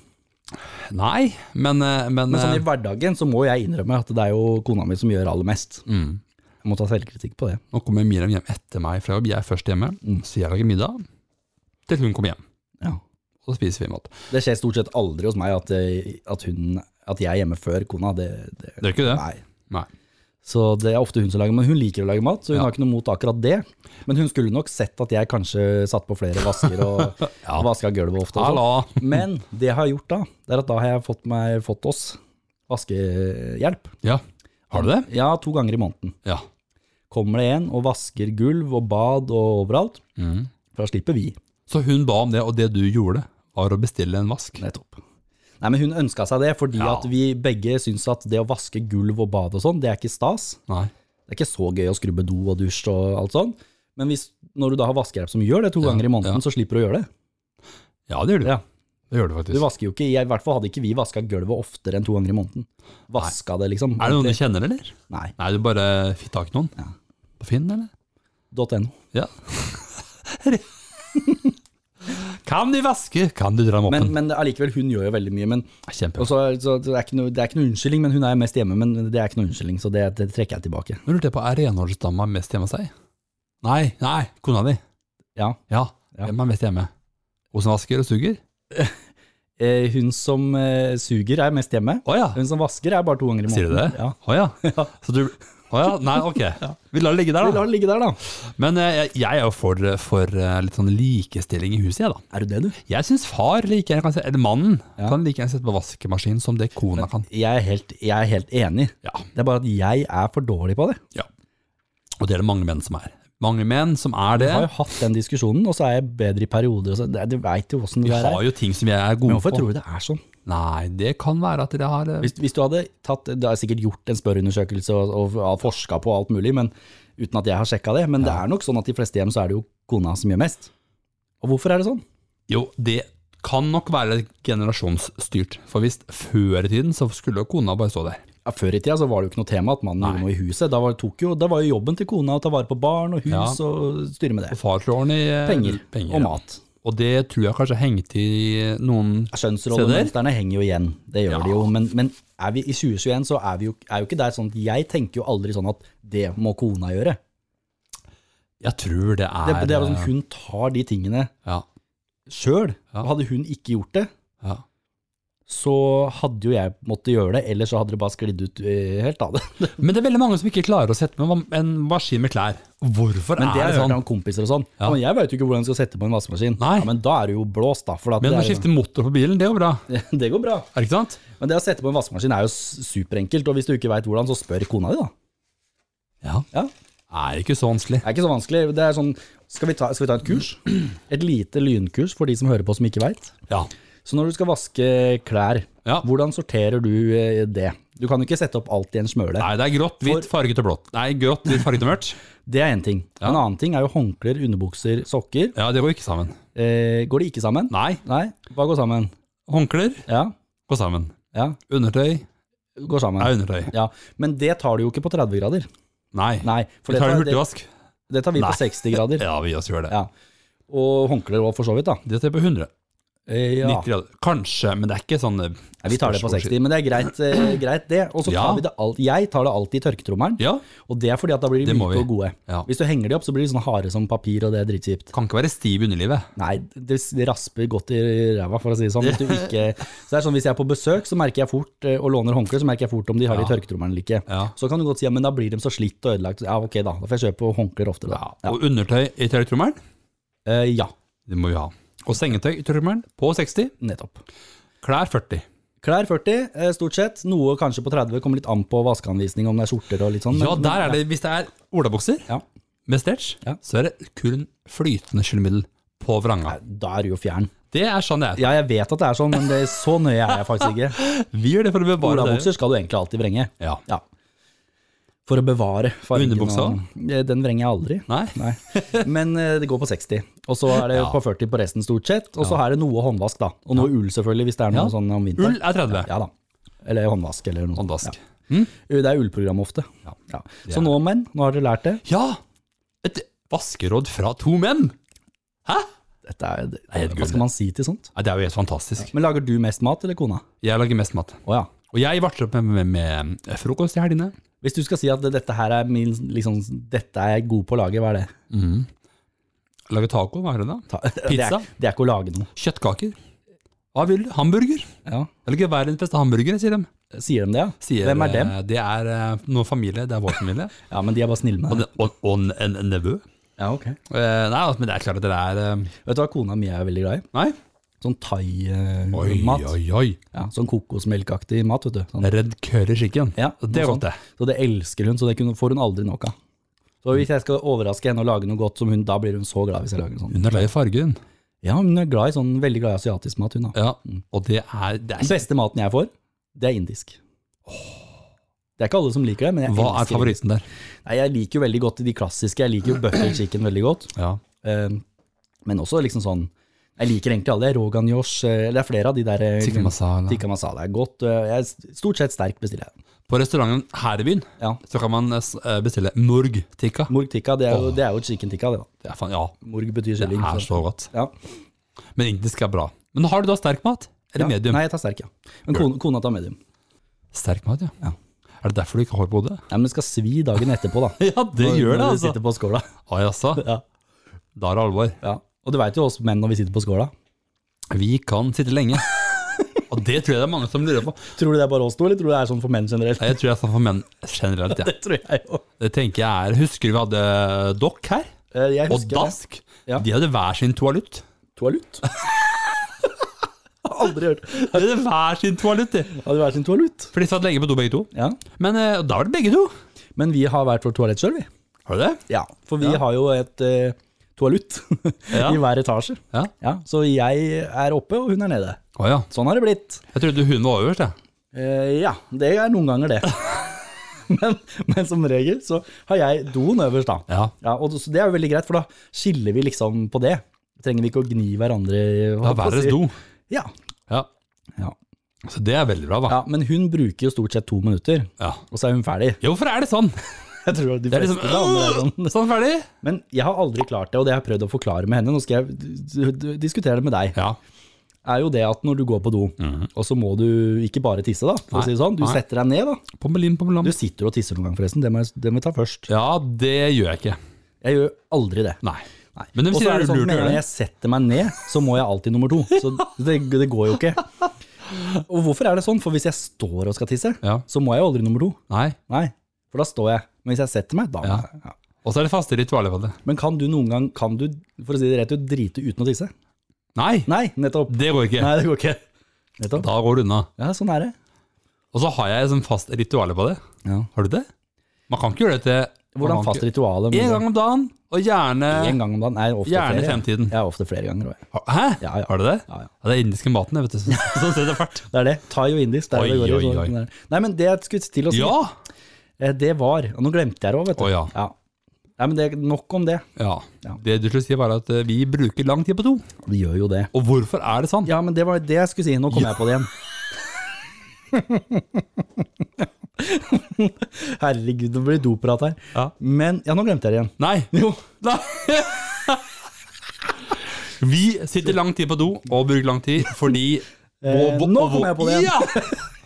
A: Nei, men, eh, men,
B: Men sånn i
A: eh,
B: hverdagen så må jeg innrømme at det er jo kona mi som gjør aller mest.
A: Mm.
B: Jeg må ta selvkritikk på det.
A: Nå kommer Miriam hjem etter meg fra jobb. Jeg er først hjemme. Så jeg lager middag til hun kommer hjem.
B: Ja.
A: Så spiser vi mat.
B: Det skjer stort sett aldri hos meg at, eh, at, hun, at jeg er hjemme før kona. Det, det,
A: Det er ikke det?
B: Nei.
A: Nei.
B: Så det er ofte hun som lager mat. Hun liker å lage mat, så hun
A: Ja.
B: har ikke noe mot akkurat det. Men hun skulle nok sett at jeg kanskje satt på flere vasker og
A: Ja.
B: vaska gulvet ofte. Og sånn.
A: Hallo.
B: Men det jeg har gjort da, det er at da har jeg fått, meg, fått oss vaskehjelp.
A: Ja. Har du det?
B: Ja, to ganger i måneden.
A: Ja.
B: Kommer det en og vasker gulv og bad og overalt,
A: Mhm.
B: for da slipper vi.
A: Så hun ba om det, og det du gjorde, var å bestille en vask.
B: Nettopp. Nei, men hun ønska seg det, fordi
A: Ja.
B: at vi begge syns at det å vaske gulv og bad og sånn, det er ikke stas.
A: Nei.
B: Det er ikke så gøy å skrubbe do og dusj og alt sånn. Men hvis, når du da har vaskehjelp som gjør det to
A: Ja,
B: ganger i måneden,
A: ja.
B: så slipper du å gjøre det.
A: Ja, det gjør du.
B: Ja.
A: Det gjør du
B: Du
A: faktisk.
B: vasker jo ikke, I hvert fall hadde ikke vi vaska gulvet oftere enn to ganger i måneden. Vaska det, liksom.
A: Er det noen du kjenner, eller?
B: Nei.
A: Nei, du bare fikk tak i noen.
B: Ja.
A: På Finn, eller?
B: .no.
A: Ja. kan de vaske, kan du dra dem opp
B: Men,
A: en
B: men det- allikevel, hun gjør jo veldig mye. Men,
A: Kjempe.
B: og så, så det, er ikke noe, det er ikke noe unnskyldning, men hun er jo mest hjemme. Men det er ikke noe unnskyldning, så det, det trekker jeg tilbake.
A: Nå lurte jeg på, er renholdsdama mest hjemme hos deg? Nei, nei, kona di.
B: Ja.
A: Ja,
B: Ja.
A: hvem er mest hjemme? Hun som vasker og suger?
B: Eh, hun som eh, suger, er mest hjemme.
A: Å ja.
B: Hun som vasker, er bare to ganger i
A: Sier
B: måneden.
A: du det?
B: Ja.
A: Å ja. Så du Å ja, nei, ok. Vi lar det ligge der,
B: Vi
A: da.
B: lar det ligge der, da.
A: Men eh, jeg, jeg er jo for, for eh, litt sånn likestilling i huset, jeg, da.
B: Er du det, du?
A: Jeg syns far, like gjerne kan se, eller mannen,
B: Ja.
A: kan like gjerne sette på vaskemaskin som det kona kan.
B: Jeg er helt, jeg er helt enig.
A: Ja.
B: Det er bare at jeg er for dårlig på det.
A: Og det er det mange menn som er. Mange menn som er det.
B: Jeg har jo hatt den diskusjonen, og så er jeg bedre i perioder. Og så, det, du veit jo åssen
A: Vi
B: det der
A: har
B: er.
A: jo ting som vi er gode
B: Men hvorfor
A: på.
B: tror du det er sånn?
A: Nei, det kan være at dere har eh,
B: Hvis, hvis du hadde tatt, Du har sikkert gjort en spørreundersøkelse og, og, og forska på alt mulig, men uten at jeg har sjekka det. Men det er nok sånn at de fleste hjem så er det jo kona som gjør mest. Og hvorfor er det sånn?
A: Jo, det kan nok være generasjonsstyrt. For hvis før i tiden så skulle jo kona bare stå der.
B: Ja, før i tida så var det jo ikke noe tema at mannen gjorde noe i huset. Da var, tok jo, da var jo jobben til kona å ta vare på barn og hus
A: Ja.
B: og styre med det.
A: Og far slår den i eh,
B: Penger,
A: penger.
B: og
A: ja.
B: mat.
A: Og det tror jeg kanskje hengte i noen
B: Skjønnsrollemønstrene henger jo igjen, det gjør
A: Ja.
B: de jo. Men, men er vi, i 2021 så er vi jo, er jo ikke der sånn at jeg tenker jo aldri sånn at det må kona gjøre.
A: Jeg tror det
B: Det,
A: er
B: det er jo sånn,
A: eh,
B: Hun tar de tingene
A: ja,
B: sjøl.
A: Ja.
B: Hadde hun ikke gjort det,
A: ja.
B: så hadde jo jeg måttet gjøre det, eller så hadde det bare sklidd ut eh, helt av det.
A: Men det er veldig mange som ikke klarer å sette med en maskin med klær. Hvorfor
B: Men
A: er det
B: det har jeg hørt
A: sånn?
B: av kompiser og sånn. Ja. Men jeg veit jo ikke hvordan jeg skal sette på en vaskemaskin.
A: Nei.
B: Ja, men da er det jo blåst, da. For at
A: Men å
B: det,
A: skifte motor på bilen, det er jo bra.
B: er, jo- det går bra.
A: Er det ikke sant?
B: Men det å sette på en vaskemaskin er jo s- superenkelt, og hvis du ikke veit hvordan, så spør kona di, da.
A: Ja.
B: Ja.
A: Er ikke så vanskelig.
B: Det er ikke så vanskelig. Det er sånn, skal, vi ta, skal vi ta et kurs? Et lite lynkurs for de som hører på som ikke veit.
A: Ja.
B: Så når du skal vaske klær,
A: Ja.
B: hvordan sorterer du eh, det? Du kan jo ikke sette opp alt i en smøle.
A: Nei, det er grått, hvitt, farget og blått. Nei, grått, hvitt, farget og mørkt.
B: Det er én ting. En annen ting er jo håndklær, underbukser, sokker.
A: Ja, det går ikke sammen.
B: Eh, går de ikke sammen?
A: Nei.
B: Hva går sammen?
A: Håndklær
B: Ja.
A: går sammen.
B: ja.
A: Undertøy
B: Går sammen.
A: er undertøy.
B: Ja. Men det tar du jo ikke på 30 grader.
A: Nei.
B: Nei, for
A: Vi tar
B: det
A: en
B: tar- det,
A: hurtigvask.
B: det tar vi
A: Nei.
B: på 60 grader.
A: Ja, vi også gjør det.
B: Ja. Og håndklær òg, for så vidt. da.
A: Det tar jeg på 100.
B: Eh, Ja.
A: 90 grader. Kanskje, men det er ikke sånn eh,
B: Nei, vi tar det på 60, men det er greit, eh, greit det. Og så
A: Ja.
B: tar vi det alt, jeg tar det alltid i tørketrommelen,
A: Ja.
B: og det er fordi at da blir de
A: Det må
B: myke
A: vi.
B: og gode.
A: ja.
B: Hvis du henger de opp, så blir de sånn harde som papir, og det er dritkjipt.
A: Kan ikke være stiv i underlivet.
B: Nei, det s- det rasper godt i ræva, for å si det sånn. Hvis, du ikke, så det er sånn, hvis jeg er på besøk så merker jeg fort, eh, og låner håndkle, så merker jeg fort om de har det i tørketrommelen eller ikke.
A: Ja.
B: Så kan du godt si ja, men da blir de så slitt og ødelagt. Ja, ok da, da får jeg kjøpe håndklær oftere. Da. Ja.
A: Og undertøy i tørketrommelen,
B: Eh, ja,
A: det må vi ha. Og sengetøy i tørketrommelen på 60.
B: nettopp.
A: Klær 40.
B: Klær 40, eh, stort sett. Noe kanskje på 30, kommer litt an på vaskeanvisning, om det er skjorter og litt sånn.
A: Ja, der er det, Hvis det er olabukser
B: Ja.
A: med stretch,
B: Ja.
A: så er det kun flytende skyllemiddel på vranga.
B: Da er du jo fjern.
A: Det er sånn det er.
B: Ja, jeg vet at det er sånn, men det, så nøye er jeg faktisk ikke.
A: Vi gjør det for å bevare det.
B: Olabukser skal du egentlig alltid vrenge.
A: Ja.
B: Ja. For å bevare fargen.
A: Underbuksa?
B: og- Eh, Den vrenger jeg aldri.
A: Nei?
B: Nei. Men eh, det går på 60. Og så er det
A: Ja.
B: på 40 på resten, stort sett. Og så er det noe håndvask, da. Og noe ull, selvfølgelig, hvis det er noe
A: Ja.
B: sånn om
A: Ull
B: vinteren.
A: er 30.
B: Ja da. Eller håndvask, eller noe. sånt.
A: Håndvask.
B: Ja. Det er ullprogram ofte.
A: Ja.
B: Ja. Så nå, menn, nå har dere lært det.
A: Ja! Et vaskeråd fra to menn! Hæ?
B: Dette er,
A: helt
B: hva
A: gull.
B: skal man si til sånt?
A: Nei, det er jo helt fantastisk.
B: Men lager du mest mat, eller kona?
A: Jeg lager mest mat.
B: Å ja.
A: Og jeg varter opp med, med, med frokost i helgene.
B: Hvis du skal si at dette her er min liksom, Dette er jeg god på å lage, hva er det?
A: Lager taco, hva er det da?
B: Ta, Det
A: Pizza?
B: er, det er ikke å lage noe.
A: Kjøttkaker? Hva vil du? Hamburger?
B: Ja.
A: Eller ikke verdens beste hamburgere, sier de.
B: Sier de det, ja?
A: Sier,
B: Hvem er dem?
A: eh, Det er eh, noen familie, det er vår familie.
B: Ja, men de er bare snille med
A: Og,
B: deg.
A: det- og, og en, en, en nevø.
B: Ja, ok.
A: Eh, nei, altså, men det er klart at det er eh,
B: Vet du hva kona mi er veldig glad i?
A: Nei.
B: Sånn
A: Oi,
B: thai-mat.
A: oi, oi.
B: Ja, sånn kokosmelkaktig mat, vet du. Sånn.
A: Red curry chicken.
B: Ja,
A: det er
B: noe
A: godt, det.
B: sånt. Så det elsker hun, så det kunne, får hun aldri nok av. Så hvis jeg skal overraske henne og lage noe godt som hun, da blir hun så glad hvis jeg lager noe sånt.
A: Hun er glad i fargen.
B: Ja, hun er glad i sånn, veldig glad i asiatisk mat, hun da.
A: Ja, og det er, det
B: Den
A: er
B: beste maten jeg får, det er indisk. Det er ikke alle som liker det, men jeg
A: Hva er
B: elsker
A: favoritten der?
B: Nei, jeg liker jo veldig godt de klassiske. Jeg liker jo butter chicken veldig godt.
A: Ja.
B: Eh, men også liksom sånn Jeg liker egentlig alle. Rogan Josh, eh, det er flere av de der eh,
A: Tikka masala.
B: Tikka masala er godt. eh, Jeg er stort sett sterk bestiller jeg.
A: På restauranten her i byen
B: Ja.
A: så kan man eh, s- eh, bestille murg tikka.
B: Morg tikka, det er, jo, det er jo chicken tikka, det da.
A: Det er faen, ja,
B: Morg
A: det
B: betyr kylling.
A: er
B: så-
A: så godt.
B: Ja.
A: Men indisk er bra. Men har du da sterk mat? Eller
B: Ja.
A: medium?
B: Nei, jeg tar sterk, ja. Men kona, kona tar medium.
A: Sterk mat, ja.
B: Ja.
A: Er det derfor du ikke har hår på hodet?
B: Nei, men det skal svi dagen etterpå, da.
A: Ja, det
B: Når-
A: gjør det,
B: Når du
A: altså.
B: sitter på skåla.
A: Å, jaså.
B: Ja.
A: Da er det alvor.
B: Ja. Og du veit jo oss menn når vi sitter på skåla.
A: Vi kan sitte lenge. Og det tror jeg det er mange som lurer på.
B: Tror du det er bare oss to, eller tror du det er sånn for menn generelt?
A: Nei, Jeg tror jeg er sånn for menn generelt, ja.
B: Det tror jeg jo.
A: Det tenker jeg er Husker du vi hadde Dokk her?
B: Eh, Jeg
A: Og
B: husker det.
A: Dask?
B: Ja.
A: De hadde hver sin toalutt.
B: Toalutt. Aldri hørt.
A: De hadde hver sin toalutt, de.
B: Hadde vært sin toalutt.
A: For de satt lenge på do, begge to.
B: Ja.
A: Men eh, da var det begge to.
B: Men vi har hvert vårt toalett sjøl, vi.
A: Har du det?
B: Ja, for vi har jo et eh, toalett
A: Ja.
B: i hver etasje.
A: Ja.
B: Ja, så jeg er oppe, og hun er nede.
A: Å ja.
B: Sånn har det blitt.
A: Jeg trodde hun var øverst, jeg.
B: Eh, ja, det er noen ganger det. men, men som regel så har jeg doen øverst, da.
A: Ja.
B: Ja, og så Det er jo veldig greit, for da skiller vi liksom på det. Trenger vi ikke å gni hverandre i
A: Da
B: hva
A: hver
B: skal
A: deres
B: jeg si?
A: do.
B: Ja.
A: Ja.
B: Ja.
A: Så det er veldig bra, da.
B: ja, Men hun bruker jo stort sett to minutter,
A: Ja.
B: og så er hun ferdig.
A: Ja, hvorfor er det sånn?
B: Jeg tror de
A: Det er
B: fleste
A: liksom
B: damer er sånn.
A: Sånn ferdig?
B: Men jeg har aldri klart det, og det har jeg prøvd å forklare med henne. Nå skal jeg d- d- diskutere det med deg.
A: Ja. Mhm.
B: er jo det at når du går på do, og så må du ikke bare tisse, da, for
A: Nei.
B: å si det sånn. Du
A: Nei.
B: setter deg ned, da.
A: Pommelin, pommelam.
B: Du sitter og tisser noen gang, forresten. Det må, jeg, det må jeg ta først.
A: Ja, det gjør jeg ikke.
B: Jeg gjør aldri det.
A: Nei.
B: Nei.
A: Men de
B: og
A: sier
B: så er
A: det
B: det
A: er
B: sånn
A: lurt å gjøre
B: at med en gang
A: det.
B: jeg setter meg ned, så må jeg alltid nummer to. Så det, det går jo ikke. Og hvorfor er det sånn? For hvis jeg står og skal tisse,
A: Ja.
B: så må jeg jo aldri nummer to.
A: Nei.
B: Nei, for da står jeg. Men hvis jeg setter meg, da må
A: Ja.
B: jeg. Ja.
A: Og så er det faste ritualer på det.
B: Men kan du noen gang, kan du, for å si det rett ut, drite uten å tisse?
A: Nei,
B: Nei, nettopp.
A: det går ikke.
B: Nei, det går ikke. Nettopp.
A: Da går det unna.
B: Ja, sånn er det.
A: Og så har jeg sånn fast ritual på det.
B: Ja.
A: Har du det? Man kan ikke gjøre det til man
B: Hvordan
A: kan
B: fast
A: ikke-
B: rituale?
A: En gang om dagen, og gjerne
B: En gang om dagen. Nei, ofte
A: Gjerne
B: flere.
A: fremtiden.
B: Ja, ofte flere ganger. også, jeg.
A: Hæ?
B: Ja, ja.
A: Har du det?
B: Ja, ja.
A: det er indiske maten, det, vet du. Sånn så setter det fart.
B: Det er det. Thai og indisk. Det er
A: Oi,
B: det det går i,
A: oi,
B: så-
A: oi.
B: sånn der. Nei, men det jeg skulle til å si,
A: Ja!
B: eh, det var og Nå glemte jeg det òg, vet du.
A: Å, ja.
B: Nei, men det er nok om det.
A: ja.
B: Ja.
A: Det du skulle si, var at eh, vi bruker lang tid på do.
B: Vi gjør jo det.
A: Og hvorfor er det sånn?
B: Ja, men det var det jeg skulle si. Nå kom jeg på det igjen. Herregud, nå blir det doprat her.
A: Ja.
B: Men ja, nå glemte jeg det igjen.
A: Nei!
B: Jo.
A: Nei. Vi sitter lang tid på do og bruker lang tid fordi
B: Eh,
A: og-
B: nå
A: og-
B: kom jeg på det igjen.
A: Ja!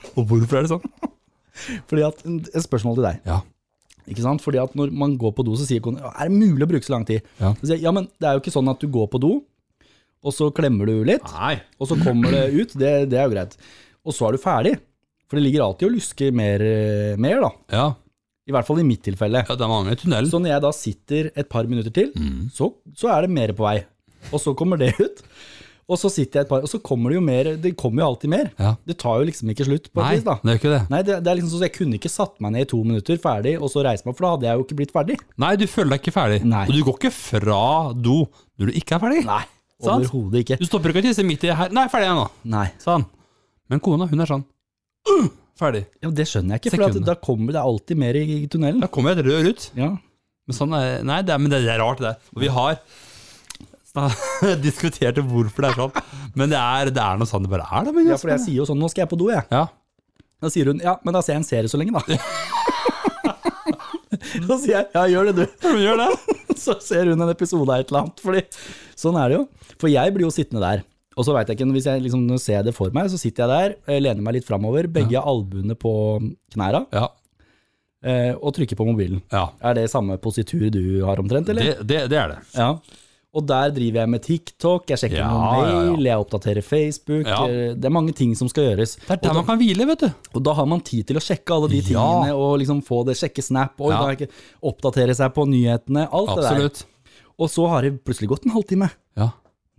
A: Og hvorfor er det sånn?
B: Fordi at, Et spørsmål til deg.
A: Ja.
B: Ikke sant? Fordi at Når man går på do, så sier kona er det mulig å bruke så lang tid.
A: Ja.
B: Så sier jeg, ja, men Det er jo ikke sånn at du går på do, og så klemmer du litt,
A: Nei.
B: og så kommer det ut. Det, det er jo greit. Og så er du ferdig. For det ligger alltid og lusker mer, eh, mer da.
A: Ja,
B: I hvert fall i mitt tilfelle.
A: ja det er mange i tunnelen.
B: Så når jeg da sitter et par minutter til,
A: Mm.
B: så, så er det mer på vei. Og så kommer det ut. Og så sitter jeg et par, og så kommer det jo mer. Det kommer jo alltid mer.
A: Ja.
B: Det tar jo liksom ikke slutt på
A: Nei,
B: et vis, da.
A: det er ikke det.
B: Nei, det, det er liksom sånn at jeg kunne ikke satt meg ned i to minutter ferdig, og så reise meg, for da hadde jeg jo ikke blitt ferdig.
A: Nei, du føler deg ikke ferdig.
B: Nei.
A: Og du går ikke fra do når du ikke er ferdig.
B: Nei,
A: Sant?
B: overhodet ikke.
A: Du stopper ikke å tisse midt i her. Nei, ferdig jeg nå.
B: Nei,
A: Sånn. Men kona, hun er sånn. «Uh, ferdig.
B: ja, men det skjønner jeg ikke, for at
A: Sekundene.
B: da kommer det alltid mer i i tunnelen.
A: Da kommer jeg et rør ut.
B: Ja,
A: Men sånn er, nei, det er, men det er rart, det der. Og vi har sna- diskutert hvorfor det er sånn. Men det er, det er noe sånn det bare er, da. men
B: ja
A: jeg-
B: for jeg sier jo sånn, nå skal jeg på do, jeg.
A: ja.
B: Da sier hun, ja, men da ser jeg en serie så lenge, da. Da sier jeg, ja, gjør det du.
A: Hun gjør det.
B: Så ser hun en episode av et eller annet, fordi sånn er det jo. For jeg blir jo sittende der, og så vet jeg ikke, hvis jeg liksom nå ser jeg det for meg, så sitter jeg der, eh, lener meg litt fremover, begge albuene på knæra,
A: Ja.
B: eh, og trykker på mobilen.
A: ja.
B: Er det samme positur du har omtrent, eller?
A: Det, det, det er det.
B: Ja. Og der driver jeg med TikTok, jeg sjekker
A: Ja,
B: noen
A: ja, ja.
B: mail, jeg oppdaterer Facebook.
A: Ja.
B: eh, Det er mange ting som skal gjøres.
A: Det er der man kan hvile, vet du.
B: Og da har man tid til å sjekke alle de
A: Ja.
B: tingene, og liksom få det, sjekke Snap, og
A: Ja.
B: oppdatere seg på nyhetene, alt det
A: Absolutt.
B: der. Og så har det plutselig gått en halvtime.
A: Ja.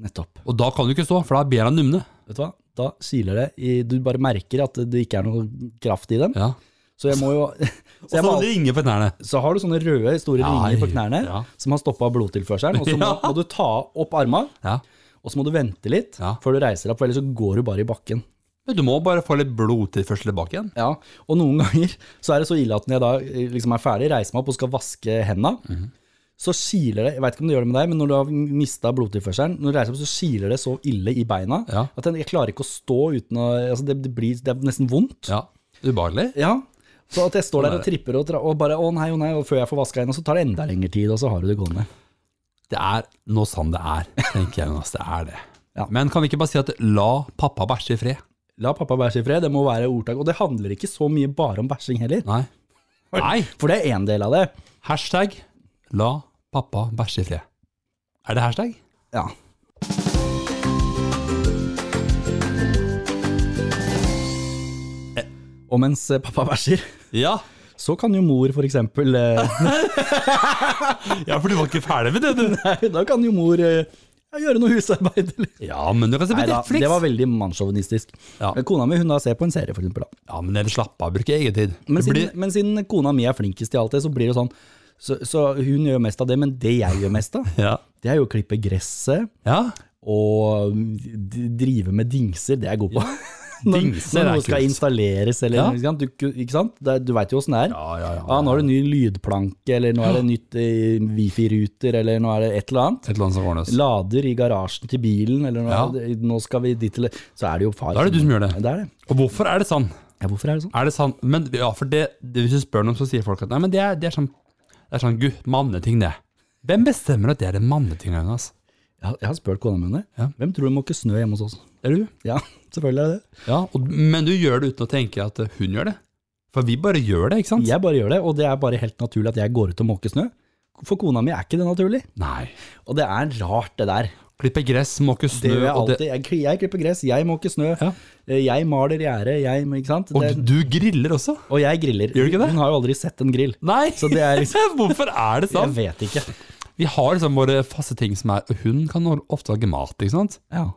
B: Nettopp.
A: Og da kan du ikke stå, for da er bena numne.
B: Vet du hva? Da kiler det. i- Du bare merker at det ikke er noe kraft i dem.
A: Ja.
B: Så jeg må jo
A: Og
B: så, jeg
A: så
B: må, al-
A: ringer på knærne.
B: så har du sånne røde, store
A: Ja,
B: ringer på knærne
A: ja.
B: som har stoppa blodtilførselen, og så må,
A: Ja.
B: må du ta opp arma.
A: Ja.
B: Og så må du vente litt
A: Ja.
B: før du reiser deg, for ellers så går du bare i bakken.
A: Men du må bare få litt blodtilførsel tilbake igjen.
B: Ja, Og noen ganger så er det så ille at når jeg da eh, liksom er ferdig, reiser meg opp og skal vaske henda, så kiler det Jeg veit ikke om det gjør det med deg, men når du har mista blodtilførselen, når du reiser opp, så kiler det så ille i beina
A: Ja.
B: at jeg, jeg klarer ikke å stå uten å altså det, det, blir, det er nesten vondt.
A: Ja. Ubehagelig.
B: Ja. Så at jeg står der og tripper og, dra- og bare å nei, å nei, og før jeg får vaska henda, så tar det enda lengre tid, og så har du det gående.
A: Det er noe sånn det er, tenker jeg, Jonas. Det er det.
B: Ja.
A: Men kan vi ikke bare si at la pappa bæsje i fred?
B: La pappa bæsje i fred, det må være ordtak. Og det handler ikke så mye bare om bæsjing heller,
A: Nei. Nei.
B: for det er én del av det.
A: Hashtag la pappa bæsje i fred. Er det hashtag?
B: Ja. Og mens eh, pappa bæsjer,
A: Ja.
B: så kan jo mor for eksempel eh,
A: Ja, for du var ikke ferdig med det, du.
B: Nei, da kan jo mor eh, ja, gjøre noe husarbeid. Eller.
A: Ja, men du kan se på
B: Nei da,
A: Netflix.
B: det var veldig mannssjåvinistisk.
A: Ja.
B: Men Kona mi hun da ser på en serie, for eksempel. Da.
A: Ja, men eller slapp av, bruk egen tid.
B: Men,
A: Det
B: siden,
A: blir-
B: men siden kona mi er flinkest i alt det, så blir det sånn. Så, så hun gjør mest av det, men det jeg gjør mest av,
A: Ja.
B: det er jo å klippe gresset
A: ja.
B: og d- drive med dingser. Det er jeg god på. Når-
A: Dingser
B: når
A: er
B: noe skal
A: kult.
B: installeres, eller
A: Ja.
B: ikke sant? Du, ikke sant? Det, er- du veit jo åssen det er.
A: Ja, ja, ja.
B: Ah, nå er det ny lydplanke, eller nå er det nytt eh, wifi-ruter, eller nå er det et eller annet.
A: Et eller annet som ordnes.
B: Lader i garasjen til bilen, eller nå,
A: Ja.
B: nå skal vi dit, eller Så er det jo far.
A: Da er det du som gjør det.
B: Det er det.
A: Og hvorfor er det sånn?
B: Ja, hvorfor er det sånn?
A: Er det sant? Men ja, for det, det, hvis du spør noen, så sier folk at nei, men det er, det er sånn, det er sånn gutt, manneting, det. Hvem bestemmer at det er en manneting, Jonas?
B: Jeg har, jeg har spurt kona mi om det.
A: Ja.
B: Hvem tror du måker snø hjemme hos oss?
A: Er du?
B: Ja, selvfølgelig er det det.
A: Ja, og, men du gjør det uten å tenke at eh, hun gjør det. For vi bare gjør det, ikke sant?
B: Jeg bare gjør det, og det er bare helt naturlig at jeg går ut og måker snø. For kona mi er ikke det naturlig.
A: Nei.
B: Og det er rart, det der.
A: Klippe gress, måke
B: Det
A: snø,
B: gjør jeg
A: og, det,
B: alltid. Jeg, kli- jeg klipper gress, jeg måker snø,
A: Ja.
B: eh, jeg maler gjerde, jeg Ikke sant?
A: og
B: Det,
A: du griller også.
B: og jeg griller.
A: Gjør du ikke det?
B: Hun har jo aldri sett en grill.
A: Nei!
B: Så det er liksom
A: Hvorfor er det
B: Jeg
A: sånn?
B: vet ikke.
A: Vi har liksom våre faste ting som er og Hun kan ofte lage mat, ikke sant?
B: Ja.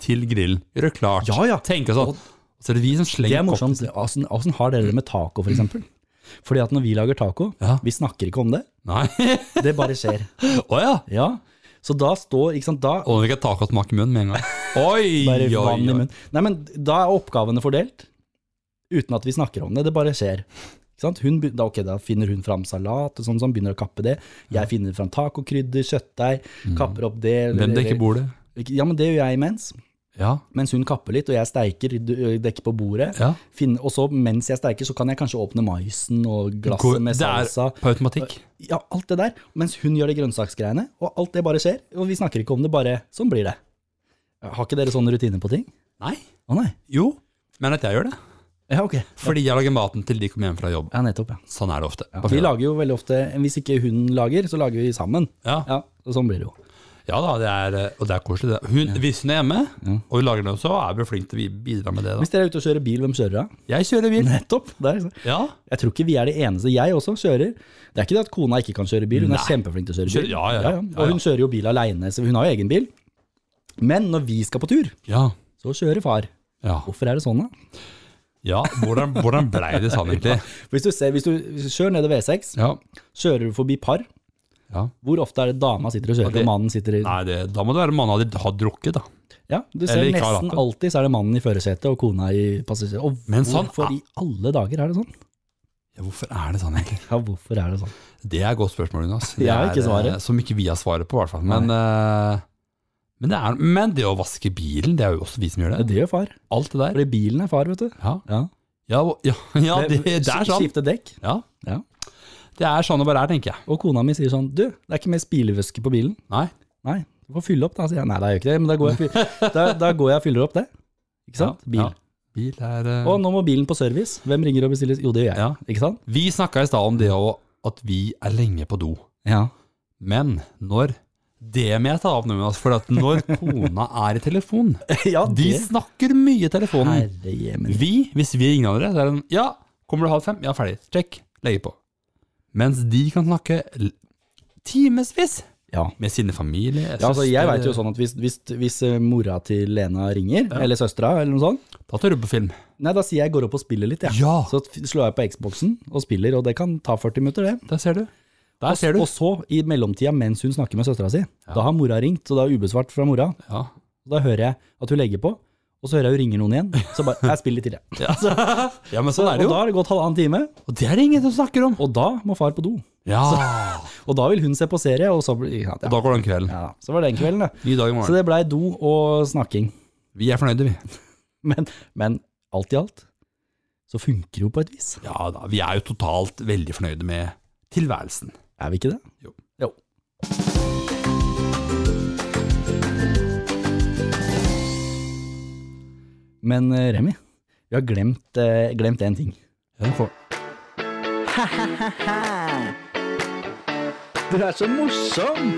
A: Til grillen. Gjør det klart.
B: Ja, ja.
A: Tenk sånn. Og så er det vi som
B: Det
A: slenger
B: er
A: opp.
B: morsomt. Åssen åssen har dere det med taco, for eksempel? Fordi at når vi lager taco,
A: Ja.
B: vi snakker ikke om det.
A: Nei.
B: Det bare skjer.
A: Å ja.
B: Ja. Så da står ikke sant, da
A: Og nå fikk jeg tacosmak i munnen med en gang. Oi,
B: bare
A: oi,
B: vann i
A: oi.
B: munnen. Nei, men da er oppgavene fordelt. Uten at vi snakker om det. Det bare skjer. Ikke sant? Hun, be- da, ok, da finner hun fram salat og sånn, sånn, begynner å kappe det. Jeg finner fram tacokrydder, kjøttdeig, kapper opp det. eller-
A: Hvem Mm. dekker bordet?
B: Ja, men det gjør jeg imens.
A: Ja.
B: Mens hun kapper litt, og jeg steiker, du- dekker på bordet.
A: Ja.
B: Finner- og så mens jeg steiker, så kan jeg kanskje åpne maisen og
A: Går-
B: glasset med
A: det er
B: salsa.
A: på automatikk.
B: Ja, alt det der. Mens hun gjør de grønnsaksgreiene, og alt det bare skjer. Og vi snakker ikke om det, bare sånn blir det. Har ikke dere sånne rutiner på ting?
A: Nei.
B: Å nei.
A: Jo, men at jeg gjør det.
B: Ja, ok.
A: Fordi jeg lager maten til de kommer hjem fra jobb.
B: Ja, nettopp, ja.
A: Sånn er det ofte. på
B: Vi
A: fredag.
B: lager jo veldig ofte, hvis ikke hun lager, så lager vi sammen.
A: Ja.
B: Ja, og sånn blir det jo.
A: ja da, det er, og det er koselig. Det. Hun, Hvis hun er hjemme, og vi lager den også, er vi flinke til å bidra med det. da.
B: Hvis dere er ute og kjører bil, hvem kjører da?
A: Jeg kjører bil.
B: Nettopp. Der.
A: Ja,
B: Jeg tror ikke vi er de eneste. Jeg også kjører. Det er ikke det at kona ikke kan kjøre bil, hun er kjempeflink til å kjøre bil.
A: Kjører- ja, ja, ja. Ja,
B: Og
A: ja.
B: hun kjører jo bil aleine, så hun har jo egen bil. Men når vi skal på tur,
A: ja,
B: så kjører far.
A: ja.
B: Hvorfor er det sånn, da?
A: ja. Hvordan, hvordan blei det sånn, egentlig?
B: Hvis du, ser, hvis du, hvis du kjører nedover V6,
A: Ja.
B: kjører du forbi par.
A: ja.
B: Hvor ofte er det dama sitter og kjører,
A: Ja, det-
B: og mannen sitter i
A: Nei, det, da må det være mannen hadde har drukket, da.
B: Ja, du ser
A: Eller ikke har hatt
B: nesten
A: det.
B: alltid så er det mannen i førersetet og kona i passasjersetet. Og
A: Men sånn
B: hvorfor
A: er-
B: i alle dager er det sånn?
A: Ja, hvorfor er det sånn, egentlig?
B: Ja, hvorfor er det sånn?
A: Det er et godt spørsmål, Jonas. Det
B: Jeg har ikke
A: er,
B: svaret.
A: eh, Som ikke vi har svaret på, i hvert fall. Men, eh, men, det er, men det å vaske bilen, det er jo også vi som gjør
B: Ja,
A: det.
B: det gjør far.
A: Alt det der.
B: Fordi bilen er far, vet du.
A: Ja,
B: Ja,
A: ja, og- ja, ja det, det er
B: Sk-
A: sånn.
B: Skifte dekk.
A: Ja.
B: Ja.
A: Det er sånn det bare er, tenker jeg.
B: Og kona mi sier sånn, du, det er ikke mer spilvæske på bilen.
A: Nei.
B: Nei, du får fylle opp da, sier jeg. Nei, det er jo ikke det, men da går jeg, fyll- da, da går jeg og fyller opp det. Ikke sant?
A: Ja,
B: Bil.
A: Ja. Bil er eh,
B: Og nå må bilen på service. Hvem ringer og bestiller? Jo, det gjør jeg.
A: Ja.
B: Ikke sant?
A: Vi snakka i stad om det òg, at vi er lenge på do.
B: Ja.
A: Men når Det må jeg ta opp nå, Jonas. For at når kona er i telefon
B: ja,
A: De
B: det.
A: snakker mye i telefonen.
B: Herre jemen.
A: Vi, hvis vi ringer andre, så er det sånn Ja, kommer du halv fem? Ja, ferdig. Check. Legger på. Mens de kan snakke l- timevis
B: Ja.
A: med sine familier.
B: Ja, altså, jeg
A: søster.
B: vet jo sånn at hvis, hvis, hvis eh, mora til Lena ringer, eller søstera, eller noe sånt,
A: Da tar du på film.
B: nei, da sier jeg går opp og spiller litt, jeg.
A: Ja.
B: Så f- slår jeg på Xboxen og spiller, og det kan ta 40 minutter, det.
A: Der ser du. Der ser du.
B: Og så, i mellomtida, mens hun snakker med søstera si, da har mora ringt, og da er ubesvart fra mora.
A: Ja.
B: Da hører jeg at hun legger på, og så hører jeg hun ringer noen igjen, så bare, jeg spiller litt til, jeg.
A: Ja. ja, men sånn er
B: Og
A: det
B: da
A: jo.
B: har det gått halvannen time,
A: Og det er det ingen som snakker om.
B: og da må far på do.
A: Ja.
B: Og da vil hun se på serie, og så, blir- ja,
A: Og da
B: ja,
A: går den kvelden.
B: ja, så var det den kvelden, det.
A: Ny dag i
B: Så
A: morgen.
B: det blei do og snakking.
A: Vi er fornøyde, vi.
B: Men, men alt i alt, så funker det jo på et vis.
A: Ja da. Vi er jo totalt veldig fornøyde med tilværelsen.
B: Er vi ikke det?
A: Jo.
B: Men eh, Remi, vi har glemt, eh, glemt en ting. Du er så morsom!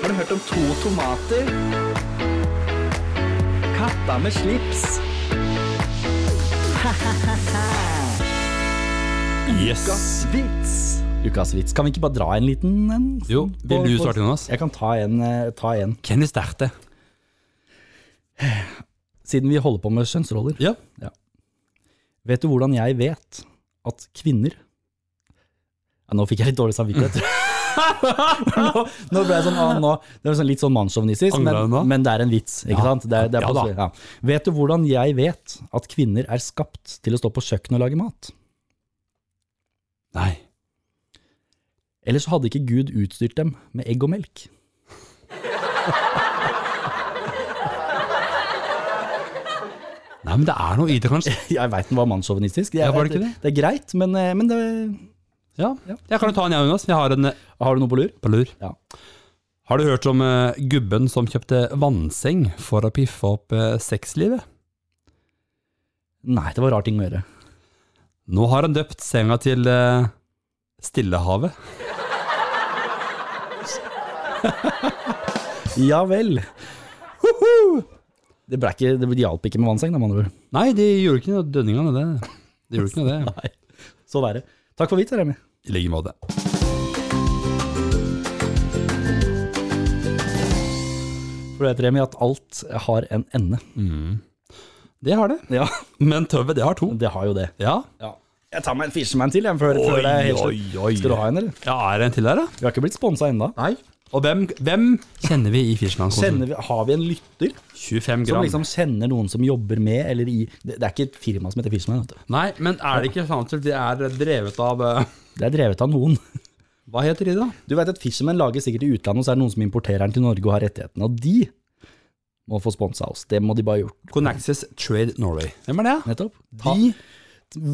B: Har du hørt om to tomater? Katta med slips.
A: Yes.
B: vits. Ukas vits. Kan vi ikke bare dra en liten en? sånn
A: Jo, vil du
B: På- på-
A: starte, Jonas?
B: Jeg kan ta en, eh, ta en.
A: Kan du starte?
B: Siden vi holder på med kjønnsroller.
A: Ja.
B: Vet du hvordan jeg vet at kvinner ja, Nå fikk jeg litt dårlig samvittighet. nå, nå ble jeg sånn, ah, nå, det var sånn litt sånn mannssjåvinistisk,
A: Angrer
B: men,
A: du nå?
B: men det er en vits. ikke
A: Ja.
B: sant? Det er, det er
A: Ja da.
B: på- ja. Vet du hvordan jeg vet at kvinner er skapt til å stå på kjøkkenet og lage mat?
A: Nei.
B: Ellers så hadde ikke Gud utstyrt dem med egg og melk.
A: Nei, men det er noe i det, kanskje.
B: Jeg veit den var mannssjåvinistisk. Jeg
A: Ja, var det
B: vet-
A: ikke det?
B: det er greit, men, eh, men det,
A: Ja. Jeg kan jo ta en, jeg, Jonas. Jeg har en eh,
B: har du noe på lur?
A: på lur.
B: Ja.
A: Har du hørt om eh, gubben som kjøpte vannseng for å piffe opp eh, sexlivet?
B: Nei, det var rar ting å gjøre.
A: Nå har han døpt senga til eh, Stillehavet.
B: Ja vel. Det, ble ikke, det hjalp ikke med vannseng, da, med andre ord.
A: Nei, de gjorde ikke noe dønningene, det. De gjorde ikke noe det.
B: Nei, så være. Takk for vits, Remi.
A: I like måte.
B: For du vet, Remi, at alt har en ende.
A: Det har det.
B: Ja,
A: Men tøvet, det har to.
B: det har jo det.
A: Ja.
B: Jeg tar meg en fisherman til, jeg, før, før det er helt slutt.
A: oi.
B: Skal du ha en, eller?
A: Ja, er det en til der, da?
B: Vi har ikke blitt sponsa ennå.
A: Nei. Og hvem, hvem kjenner vi i Fischland?
B: Kjenner vi- Har vi en lytter
A: 25
B: som
A: gram.
B: liksom kjenner noen som jobber med eller i Det, det er ikke et firma som heter Fisherman, vet du.
A: Nei, men er det ikke sant at de er drevet av eh,
B: Det er drevet av noen.
A: Hva heter de, da?
B: Du vet at Fisherman lager sikkert i utlandet, og så er det noen som importerer den til Norge og har rettighetene. Og de må få sponsa oss. Det må de bare ha gjort.
A: Conaxis Trade Norway. Hvem er det?
B: Nettopp.
A: Ta-
B: De,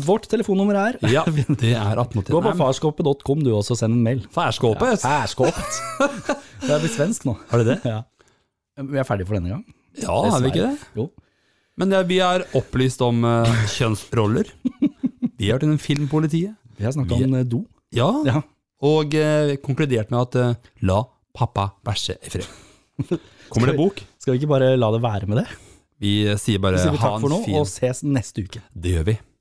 B: vårt telefonnummer er
A: Ja, det er 1889.
B: Gå på
A: Nei, men
B: farskapet.com du også, og send en mail.
A: Færskåpet!
B: Færskapet. Det er blitt svensk nå.
A: Har du det?
B: Ja. Vi er ferdige for denne gang.
A: Ja, er vi ikke det?
B: Jo.
A: Men det, vi er opplyst om eh, kjønnsroller. Vi har vært innom Filmpolitiet.
B: Vi har snakka
A: Vi-
B: om eh, do.
A: Ja,
B: Ja.
A: og eh, konkludert med at eh, la pappa bæsje i fred. Kommer det bok?
B: Skal vi ikke bare la det være med det?
A: Vi eh, sier bare
B: Så sier vi
A: ha
B: takk
A: en
B: for nå,
A: fin
B: og ses neste uke.
A: Det gjør vi.